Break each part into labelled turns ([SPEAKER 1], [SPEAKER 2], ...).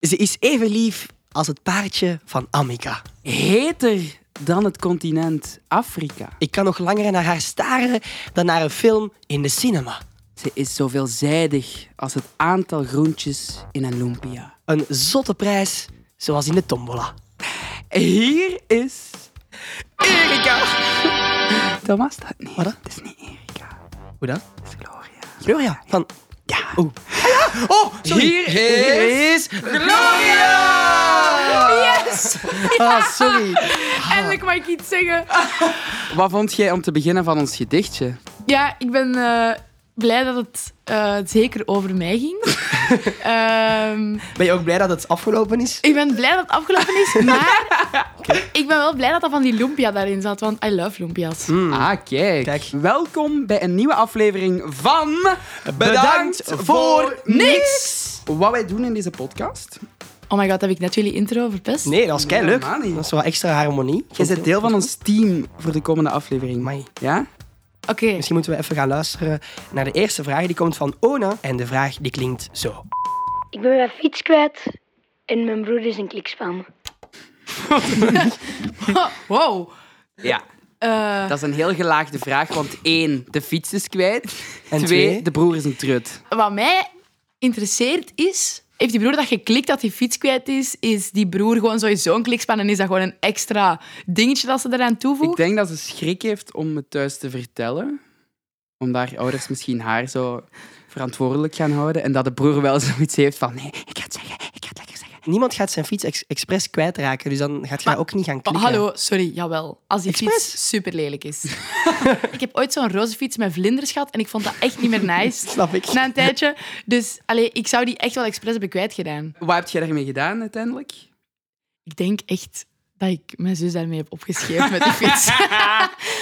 [SPEAKER 1] Ze is even lief als het paardje van Amica.
[SPEAKER 2] Heter dan het continent Afrika.
[SPEAKER 1] Ik kan nog langer naar haar staren dan naar een film in de cinema.
[SPEAKER 2] Ze is zo veelzijdig als het aantal groentjes in een lumpia.
[SPEAKER 1] Een zotte prijs, zoals in de tombola.
[SPEAKER 2] Hier is...
[SPEAKER 1] Erika!
[SPEAKER 2] Dat was dat niet.
[SPEAKER 1] Wat dan?
[SPEAKER 2] Het is niet Erika.
[SPEAKER 1] Hoe dan?
[SPEAKER 2] Het is Gloria.
[SPEAKER 1] Gloria. Van...
[SPEAKER 2] Ja.
[SPEAKER 1] Oeh. Oh, sorry.
[SPEAKER 2] Hier
[SPEAKER 1] is... Gloria!
[SPEAKER 2] Yes!
[SPEAKER 1] Ah, sorry.
[SPEAKER 3] Eindelijk mag ik iets zeggen.
[SPEAKER 2] Wat vond jij om te beginnen van ons gedichtje?
[SPEAKER 3] Ja, ik ben eh, blij dat het eh, zeker over mij ging. Ehm,
[SPEAKER 1] Ben je ook blij dat het afgelopen is?
[SPEAKER 3] ik ben blij dat het afgelopen is, maar ik ben wel blij dat dat van die lumpia daarin zat, want I love lumpia's.
[SPEAKER 2] Ah, kijk.
[SPEAKER 1] Hmm. Kijk.
[SPEAKER 2] Welkom bij een nieuwe aflevering van...
[SPEAKER 1] Bedankt voor
[SPEAKER 2] niks! Wat wij doen in deze podcast...
[SPEAKER 3] Oh my god, heb ik net jullie intro verpest?
[SPEAKER 1] Nee, dat was
[SPEAKER 2] Nee,
[SPEAKER 1] kei leuk.
[SPEAKER 2] helemaal niet.
[SPEAKER 1] Dat is wel extra harmonie.
[SPEAKER 2] Jij bent deel van ons team voor de komende aflevering.
[SPEAKER 1] Amai.
[SPEAKER 2] Ja?
[SPEAKER 3] Oké,
[SPEAKER 1] Misschien moeten we even gaan luisteren naar de eerste vraag. Die komt van Ona. En de vraag die klinkt zo.
[SPEAKER 4] Ik ben mijn fiets kwijt en mijn broer is een klikspan.
[SPEAKER 3] wow.
[SPEAKER 2] Ja.
[SPEAKER 3] Eh,
[SPEAKER 2] Dat is een heel gelaagde vraag, want één, de fiets is kwijt.
[SPEAKER 1] En
[SPEAKER 2] twee,
[SPEAKER 1] twee?
[SPEAKER 2] de broer is een trut.
[SPEAKER 3] wat mij interesseert is, heeft die broer dat geklikt dat die fiets kwijt is? Is die broer gewoon sowieso een klikspan en is dat gewoon een extra dingetje dat ze eraan toevoegt?
[SPEAKER 2] Ik denk dat ze schrik heeft om het thuis te vertellen. Omdat haar ouders misschien haar zo verantwoordelijk gaan houden. En dat de broer wel zoiets heeft van... Nee, ik ga het zeggen, ik ga het lekker zeggen.
[SPEAKER 1] Niemand gaat zijn fiets ex- expres kwijtraken, dus dan gaat jij
[SPEAKER 3] Maar-
[SPEAKER 1] ook niet gaan
[SPEAKER 3] Oh,
[SPEAKER 1] klikken.
[SPEAKER 3] hallo, sorry, jawel. Als die
[SPEAKER 1] Expres?
[SPEAKER 3] fiets super lelijk is. ik heb ooit zo'n roze fiets met vlinders gehad en ik vond dat echt niet meer nice
[SPEAKER 1] Snap ik.
[SPEAKER 3] na een tijdje. Dus allee, ik zou die echt wel expres hebben kwijtgedaan.
[SPEAKER 2] Wat heb jij daarmee gedaan uiteindelijk?
[SPEAKER 3] Ik denk echt dat ik mijn zus daarmee heb opgeschreven met die fiets.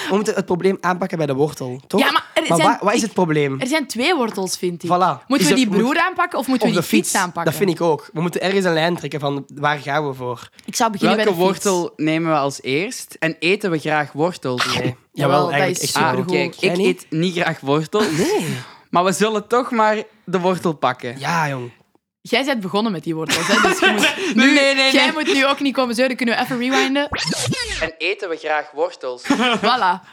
[SPEAKER 1] We moeten het probleem aanpakken bij de wortel, toch?
[SPEAKER 3] Ja, maar er zijn-
[SPEAKER 1] wa- wat is het probleem?
[SPEAKER 3] er zijn twee wortels, vind ik.
[SPEAKER 1] Voilà. Is
[SPEAKER 3] Moeten we
[SPEAKER 1] er-
[SPEAKER 3] die broer
[SPEAKER 1] moet-
[SPEAKER 3] aanpakken of moeten we
[SPEAKER 1] Of
[SPEAKER 3] die fiets, aanpakken?
[SPEAKER 1] Dat vind ik ook. We moeten ergens een lijn trekken van waar gaan we voor?
[SPEAKER 3] Ik zou beginnen
[SPEAKER 2] Welke
[SPEAKER 3] bij de fiets.
[SPEAKER 2] wortel nemen we als eerst? En eten we graag wortels?
[SPEAKER 1] Nee.
[SPEAKER 3] Jawel, dat
[SPEAKER 1] eigenlijk
[SPEAKER 3] is
[SPEAKER 1] echt
[SPEAKER 2] Ah,
[SPEAKER 1] wel.
[SPEAKER 3] supergoed.
[SPEAKER 2] kijk,
[SPEAKER 1] Jij
[SPEAKER 2] ik
[SPEAKER 1] niet?
[SPEAKER 2] eet niet graag wortel.
[SPEAKER 1] Nee.
[SPEAKER 2] Maar we zullen toch maar de wortel pakken.
[SPEAKER 1] Ja, jong.
[SPEAKER 3] Jij bent begonnen met die wortels, hè? Dus je moet nu,
[SPEAKER 2] nee, nee,
[SPEAKER 3] jij
[SPEAKER 2] nee.
[SPEAKER 3] moet nu ook niet komen zeuren. Kunnen we even rewinden?
[SPEAKER 2] En eten we graag wortels?
[SPEAKER 3] Voilà.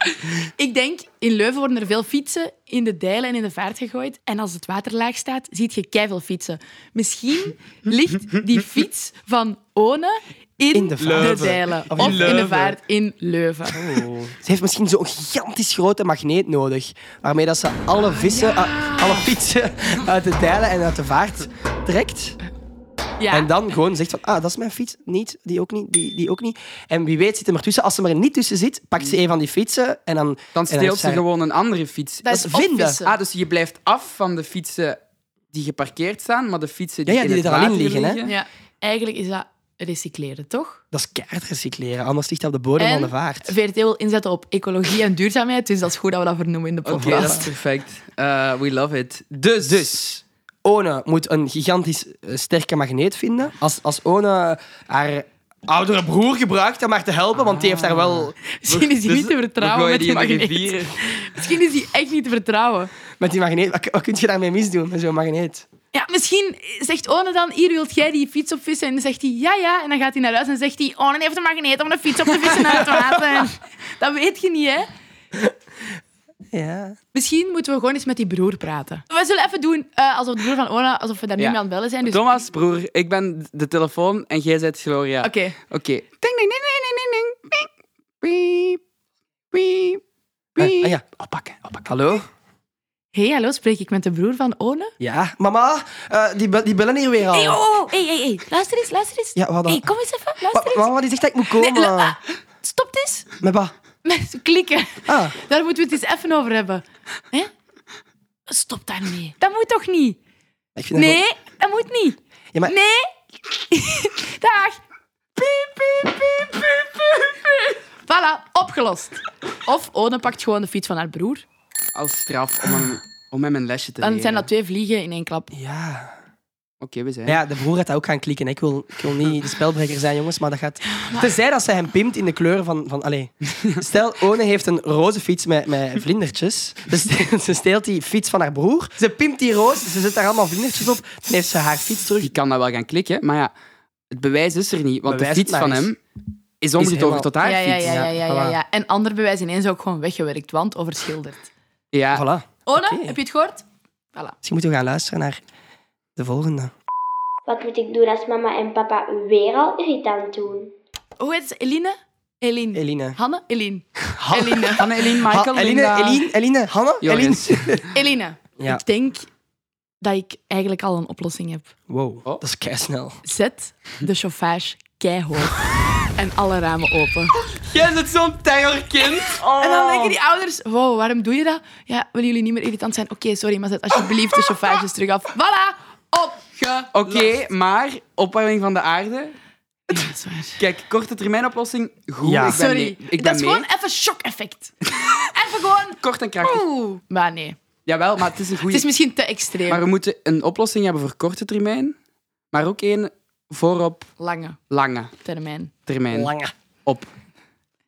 [SPEAKER 3] Ik denk, in Leuven worden er veel fietsen in de dijlen en in de vaart gegooid. En als het water laag staat, ziet je keiveel fietsen. Misschien ligt die fiets van One in,
[SPEAKER 1] In de
[SPEAKER 3] de,
[SPEAKER 1] vaart. Leuven.
[SPEAKER 3] dijlen.
[SPEAKER 1] Of
[SPEAKER 3] Of,
[SPEAKER 1] in
[SPEAKER 3] in, de
[SPEAKER 1] Leuven.
[SPEAKER 3] vaart in Leuven.
[SPEAKER 1] Ze heeft misschien zo'n gigantisch grote magneet nodig, waarmee dat ze alle vissen, ah, alle fietsen uit de dijlen en uit de vaart trekt.
[SPEAKER 3] Ja.
[SPEAKER 1] En dan gewoon zegt van, ah, dat is mijn fiets. Niet, die ook niet, die, die ook niet. En wie weet zit hem ertussen. Als ze er niet tussen zit, pakt
[SPEAKER 3] Mm.
[SPEAKER 1] ze een van die fietsen en dan...
[SPEAKER 2] Dan
[SPEAKER 1] en
[SPEAKER 2] steelt
[SPEAKER 1] heeft
[SPEAKER 2] ze gewoon een andere fiets.
[SPEAKER 3] dat is
[SPEAKER 1] dat vinden.
[SPEAKER 3] opvissen.
[SPEAKER 2] Ah, dus je blijft af van de fietsen die geparkeerd staan, maar de fietsen die,
[SPEAKER 1] Ja, ja, die
[SPEAKER 2] in het
[SPEAKER 1] er al in
[SPEAKER 2] water
[SPEAKER 1] liggen, hè?
[SPEAKER 3] ja. Eigenlijk is dat recycleren, toch?
[SPEAKER 1] Dat is keihard recycleren, anders ligt dat op de bodem
[SPEAKER 3] En
[SPEAKER 1] van de vaart.
[SPEAKER 3] VRT wil inzetten op ecologie en duurzaamheid, dus dat is goed dat we dat vernoemen in de
[SPEAKER 2] Oké,
[SPEAKER 3] podcast.
[SPEAKER 2] dat is perfect. Eh, we love it. Dus,
[SPEAKER 1] Dus, One moet een gigantisch eh, sterke magneet vinden. Als, als One haar oudere broer gebruikt om haar te helpen, want die heeft daar wel...
[SPEAKER 3] Misschien is hij
[SPEAKER 2] dus
[SPEAKER 3] niet te vertrouwen
[SPEAKER 2] we gooien
[SPEAKER 3] met die,
[SPEAKER 2] in de
[SPEAKER 3] magneet.
[SPEAKER 2] rivier.
[SPEAKER 3] Misschien is hij echt niet te vertrouwen.
[SPEAKER 1] Met die magneet, wat, wat kun je daarmee misdoen met zo'n magneet?
[SPEAKER 3] Ja, misschien zegt One dan, hier wilt jij die fiets opvissen? En dan zegt hij, ja, ja. En dan gaat hij naar huis en zegt hij, "Oh, One heeft een magneet om de fiets op te vissen uit het water. Dat weet je niet, hè?
[SPEAKER 1] Ja.
[SPEAKER 3] Misschien moeten we gewoon eens met die broer praten. We zullen even doen eh, alsof de broer van Ona, alsof we daar nu
[SPEAKER 2] Ja.
[SPEAKER 3] mee aan het bellen zijn. Dus...
[SPEAKER 2] Thomas, broer, ik ben de telefoon en jij bent Gloria.
[SPEAKER 3] Oké.
[SPEAKER 2] Oké. Ding, ding, ding, ding, ding, ding, ding. Ping, piep, piep, piep.
[SPEAKER 1] ah, ja. Oppakken, oppakken. Hallo?
[SPEAKER 3] Hey, hallo, spreek ik met de broer van One?
[SPEAKER 1] Ja, mama, eh, die, be- die bellen hier weer al.
[SPEAKER 3] Hey, oh, oh, hey, hey, hey. Luister eens, luister eens.
[SPEAKER 1] Ja, wat dan?
[SPEAKER 3] Hey, kom eens even,
[SPEAKER 1] Wa-
[SPEAKER 3] luister eens.
[SPEAKER 1] mama, die zegt dat ik moet komen.
[SPEAKER 3] Nee, la- Stop eens
[SPEAKER 1] Met wat?
[SPEAKER 3] met klikken.
[SPEAKER 1] Ah,
[SPEAKER 3] Daar moeten we het eens even over hebben. Hè? Stop daarmee. Dat moet toch niet?
[SPEAKER 1] ik vind dat wel-
[SPEAKER 3] Nee, dat moet niet.
[SPEAKER 1] Ja, maar-
[SPEAKER 3] Nee. Dag. Piep, piep, piep, piep, piep, piep. Voilà, opgelost. Of One pakt gewoon de fiets van haar broer.
[SPEAKER 2] Als straf om hem, om hem een lesje te
[SPEAKER 3] Dan
[SPEAKER 2] leren.
[SPEAKER 3] zijn dat twee vliegen in één klap.
[SPEAKER 1] Ja.
[SPEAKER 2] we zijn.
[SPEAKER 1] Ja, de broer had dat ook gaan klikken. hè. Ik wil, ik wil niet de spelbreker zijn, jongens, maar dat gaat... Tenzij dat zij hem pimpt in de kleuren van... van allee. Stel, One heeft een roze fiets met, met vlindertjes. Dus ze steelt die fiets van haar broer. Ze pimpt die roos, ze zet daar allemaal vlindertjes op. Dan heeft ze haar fiets terug.
[SPEAKER 2] Die kan dat wel gaan klikken, maar ja, het bewijs is er niet. Want
[SPEAKER 1] Bewijs
[SPEAKER 2] de
[SPEAKER 1] het
[SPEAKER 2] fiets
[SPEAKER 1] maar
[SPEAKER 2] van
[SPEAKER 1] eens.
[SPEAKER 2] hem is omgetogen
[SPEAKER 1] helemaal-
[SPEAKER 2] tot
[SPEAKER 3] Ja,
[SPEAKER 2] haar
[SPEAKER 3] ja, ja,
[SPEAKER 2] fiets.
[SPEAKER 1] fiets,
[SPEAKER 3] ja,
[SPEAKER 1] ja.
[SPEAKER 3] ja, ja,
[SPEAKER 1] Voilà.
[SPEAKER 3] ja. En ander bewijs ineens ook gewoon weggewerkt, want overschilderd.
[SPEAKER 2] Ja,
[SPEAKER 1] Voilà.
[SPEAKER 3] Ona,
[SPEAKER 1] Oké.
[SPEAKER 3] heb je het gehoord?
[SPEAKER 1] Misschien
[SPEAKER 3] Voilà.
[SPEAKER 1] moeten we gaan luisteren naar de volgende.
[SPEAKER 4] Wat moet ik doen als mama en papa weer al irritant doen?
[SPEAKER 3] Hoe heet ze? Eline? Eline.
[SPEAKER 1] Eline.
[SPEAKER 3] Hanne? Eline.
[SPEAKER 2] Eline. Hanne, Eline, Michael,
[SPEAKER 1] Ha- Eline,
[SPEAKER 2] Linda.
[SPEAKER 1] Eline, Eline, Hanne?
[SPEAKER 2] Joris.
[SPEAKER 1] Eline.
[SPEAKER 3] Eline.
[SPEAKER 1] Ja.
[SPEAKER 3] Ik denk dat ik eigenlijk al een oplossing heb.
[SPEAKER 1] Wow,
[SPEAKER 2] Oh.
[SPEAKER 1] dat is keisnel.
[SPEAKER 3] Zet de chauffage keihoog en alle ramen open.
[SPEAKER 1] Jij zit zo'n terrorkind.
[SPEAKER 2] Oh.
[SPEAKER 3] En dan denken die ouders, wow, waarom doe je dat? Ja, willen jullie niet meer irritant zijn? Oké, sorry, maar zet alsjeblieft de chauffages terug af. Voilà, opge...
[SPEAKER 2] Oké, maar opwarming van de aarde.
[SPEAKER 3] Ja, dat is waar.
[SPEAKER 2] Kijk, korte termijn oplossing. Goed,
[SPEAKER 1] Ja.
[SPEAKER 2] ik ben
[SPEAKER 3] Sorry,
[SPEAKER 2] mee. Ik ben
[SPEAKER 3] dat is
[SPEAKER 2] mee.
[SPEAKER 3] gewoon even shock-effect. even gewoon...
[SPEAKER 2] Kort en krachtig.
[SPEAKER 3] Oeh. Maar nee,
[SPEAKER 2] Jawel, maar het is een
[SPEAKER 3] het
[SPEAKER 2] goede.
[SPEAKER 3] is misschien te extreem.
[SPEAKER 2] Maar we moeten een oplossing hebben voor korte termijn, maar ook één voor op
[SPEAKER 3] Lange
[SPEAKER 2] lange
[SPEAKER 3] termijn.
[SPEAKER 2] termijn.
[SPEAKER 1] Lange.
[SPEAKER 2] Op.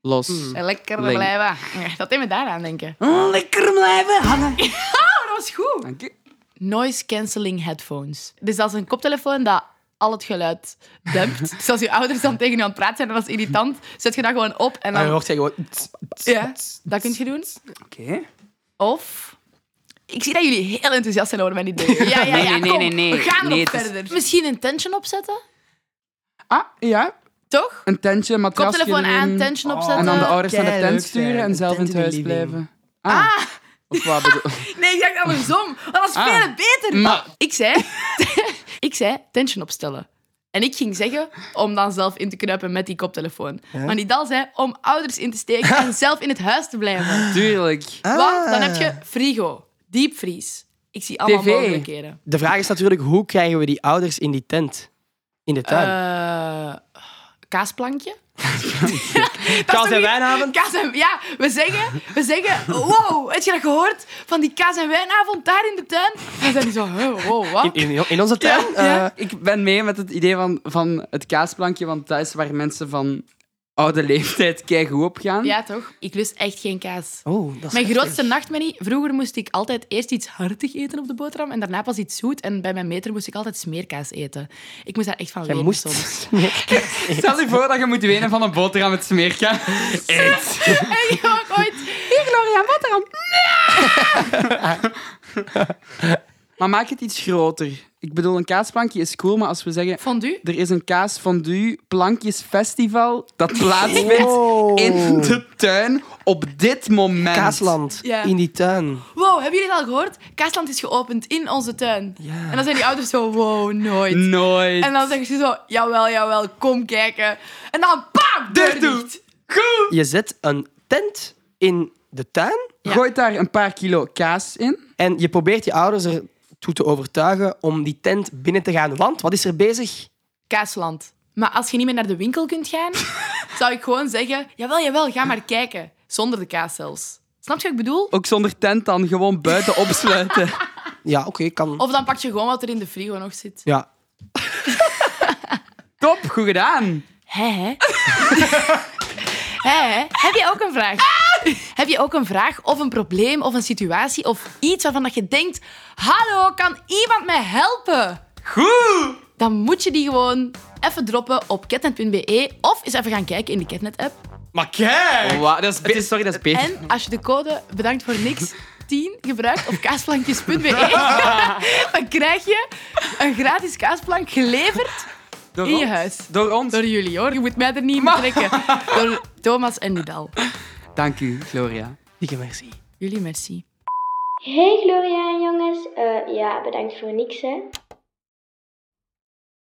[SPEAKER 2] Los.
[SPEAKER 1] Hmm.
[SPEAKER 3] Lekker
[SPEAKER 2] Link.
[SPEAKER 3] blijven. Ja, Dat deed me daaraan denken.
[SPEAKER 2] Oh, lekker blijven hangen.
[SPEAKER 3] Oh, dat was goed.
[SPEAKER 2] Dank je.
[SPEAKER 3] noise cancelling headphones. Dus dat is een koptelefoon dat al het geluid dempt. dus als je ouders dan tegen je aan het praten zijn en dat is irritant, zet je dat gewoon op
[SPEAKER 1] En
[SPEAKER 3] en
[SPEAKER 2] Ah,
[SPEAKER 1] dan
[SPEAKER 3] dan...
[SPEAKER 1] Ah, hoort hij gewoon...
[SPEAKER 3] Ja, dat kun je doen.
[SPEAKER 2] Oké.
[SPEAKER 3] Of... Ik zie dat jullie heel enthousiast zijn over mijn idee. Ja, ja,
[SPEAKER 2] Nee,
[SPEAKER 3] ja,
[SPEAKER 2] nee, nee,
[SPEAKER 3] kom,
[SPEAKER 2] nee, nee.
[SPEAKER 3] We gaan
[SPEAKER 2] Nee,
[SPEAKER 3] erop
[SPEAKER 2] het is-
[SPEAKER 3] verder. Misschien een tension opzetten,
[SPEAKER 2] Ah, ja.
[SPEAKER 3] toch?
[SPEAKER 2] Een tentje, een matrasje
[SPEAKER 3] Koptelefoon aan,
[SPEAKER 2] erin.
[SPEAKER 3] tension
[SPEAKER 1] Oh.
[SPEAKER 3] opzetten.
[SPEAKER 2] En dan de ouders naar de
[SPEAKER 1] Keileuk
[SPEAKER 2] tent
[SPEAKER 1] zijn.
[SPEAKER 2] sturen en
[SPEAKER 1] Een
[SPEAKER 2] zelf in
[SPEAKER 1] tent
[SPEAKER 2] het
[SPEAKER 1] in de
[SPEAKER 2] huis
[SPEAKER 1] living.
[SPEAKER 2] blijven. Ah. Of wat bedoel
[SPEAKER 3] Nee, ik dacht andersom. Dat was
[SPEAKER 2] Ah.
[SPEAKER 3] veel beter.
[SPEAKER 2] Maar-
[SPEAKER 3] Ik zei... ik zei tension opstellen. En ik ging zeggen om dan zelf in te kruipen met die koptelefoon. Maar Nidal zei om ouders in te steken en zelf in het huis te blijven.
[SPEAKER 2] Tuurlijk.
[SPEAKER 3] Want dan heb je frigo, diepvries. Ik zie allemaal
[SPEAKER 2] TV.
[SPEAKER 3] mogelijkheden.
[SPEAKER 1] De vraag is natuurlijk, hoe krijgen we die ouders in die tent? In de tuin?
[SPEAKER 3] Eh, kaasplankje?
[SPEAKER 1] Kaas
[SPEAKER 3] toch
[SPEAKER 1] en
[SPEAKER 3] niet-
[SPEAKER 1] wijnavond?
[SPEAKER 3] Kaas en, ja, we zeggen, we zeggen, wow, heb je dat gehoord? Van die kaas en wijnavond daar in de tuin? En dan zijn die zo, huh, wow, wat?
[SPEAKER 1] In, in, in onze tuin?
[SPEAKER 3] Ja, ja.
[SPEAKER 1] Eh,
[SPEAKER 2] Ik ben mee met het idee van, van het kaasplankje, want dat is waar mensen van oude leeftijd keigoed op gaan.
[SPEAKER 3] Ja, toch? Ik lust echt geen kaas.
[SPEAKER 1] Oh, dat is
[SPEAKER 3] Mijn
[SPEAKER 1] heftig.
[SPEAKER 3] grootste nachtmerrie, vroeger moest ik altijd eerst iets hartig eten op de boterham en daarna pas iets zoet. En bij mijn meter moest ik altijd smeerkaas eten. Ik moest daar echt van
[SPEAKER 1] Jij
[SPEAKER 3] leren
[SPEAKER 1] moest...
[SPEAKER 3] soms.
[SPEAKER 2] Stel je voor dat je moet wenen van een boterham met smeerka.
[SPEAKER 3] En ik ook ooit... Hier, Gloria, boterham.
[SPEAKER 2] Maar maak het iets groter. Ik bedoel, een kaasplankje is cool, maar als we zeggen...
[SPEAKER 3] Fondue?
[SPEAKER 2] Er is een kaasfondue plankjesfestival dat plaatsvindt
[SPEAKER 1] Wow.
[SPEAKER 2] in de tuin op dit moment.
[SPEAKER 1] Kaasland,
[SPEAKER 3] Ja.
[SPEAKER 1] in die tuin.
[SPEAKER 3] Wow, hebben jullie het al gehoord? Kaasland is geopend in onze tuin.
[SPEAKER 1] Ja.
[SPEAKER 3] En dan zijn die ouders zo, wow, nooit.
[SPEAKER 2] Nooit.
[SPEAKER 3] En dan zeggen ze zo, jawel, jawel, kom kijken. En dan, bam, deur
[SPEAKER 2] Deur toe.
[SPEAKER 3] dicht.
[SPEAKER 2] Goed.
[SPEAKER 1] Je zet een tent in de tuin
[SPEAKER 3] Ja.
[SPEAKER 2] Gooi daar een paar kilo kaas in.
[SPEAKER 1] en je probeert je ouders ertoe te overtuigen om die tent binnen te gaan. Want, wat is er bezig?
[SPEAKER 3] Kaasland. Maar als je niet meer naar de winkel kunt gaan, zou ik gewoon zeggen: jawel, jawel, ga maar kijken. Zonder de kaas zelfs. Snap je wat ik bedoel?
[SPEAKER 2] Ook zonder tent dan, gewoon buiten opsluiten.
[SPEAKER 1] Ja, oké, kan...
[SPEAKER 3] Of dan pak je gewoon wat er in de frigo nog zit.
[SPEAKER 1] Ja.
[SPEAKER 2] Top, goed gedaan.
[SPEAKER 3] Hè, hè? Hè, hè? Heb je ook een vraag? Heb je ook een vraag of een probleem of een situatie of iets waarvan dat je denkt: hallo, kan iemand mij helpen?
[SPEAKER 2] Goed.
[SPEAKER 3] Dan moet je die gewoon even droppen op catnet.be of eens even gaan kijken in de catnet-app.
[SPEAKER 1] Maar kijk!
[SPEAKER 2] Wauw, dat is be- sorry, dat is beter.
[SPEAKER 3] En als je de code bedankt voor niks 10 gebruikt op kaasplankjes.be, dan krijg je een gratis kaasplank geleverd
[SPEAKER 2] Door
[SPEAKER 3] in je
[SPEAKER 2] ons.
[SPEAKER 3] huis.
[SPEAKER 2] Door ons.
[SPEAKER 3] door jullie hoor. Je moet mij er niet in trekken. Door Thomas en Nidal.
[SPEAKER 2] Dank u, Gloria.
[SPEAKER 1] Dikke merci.
[SPEAKER 3] Jullie merci.
[SPEAKER 4] Hey Gloria en jongens, Eh, ja bedankt voor niks hè.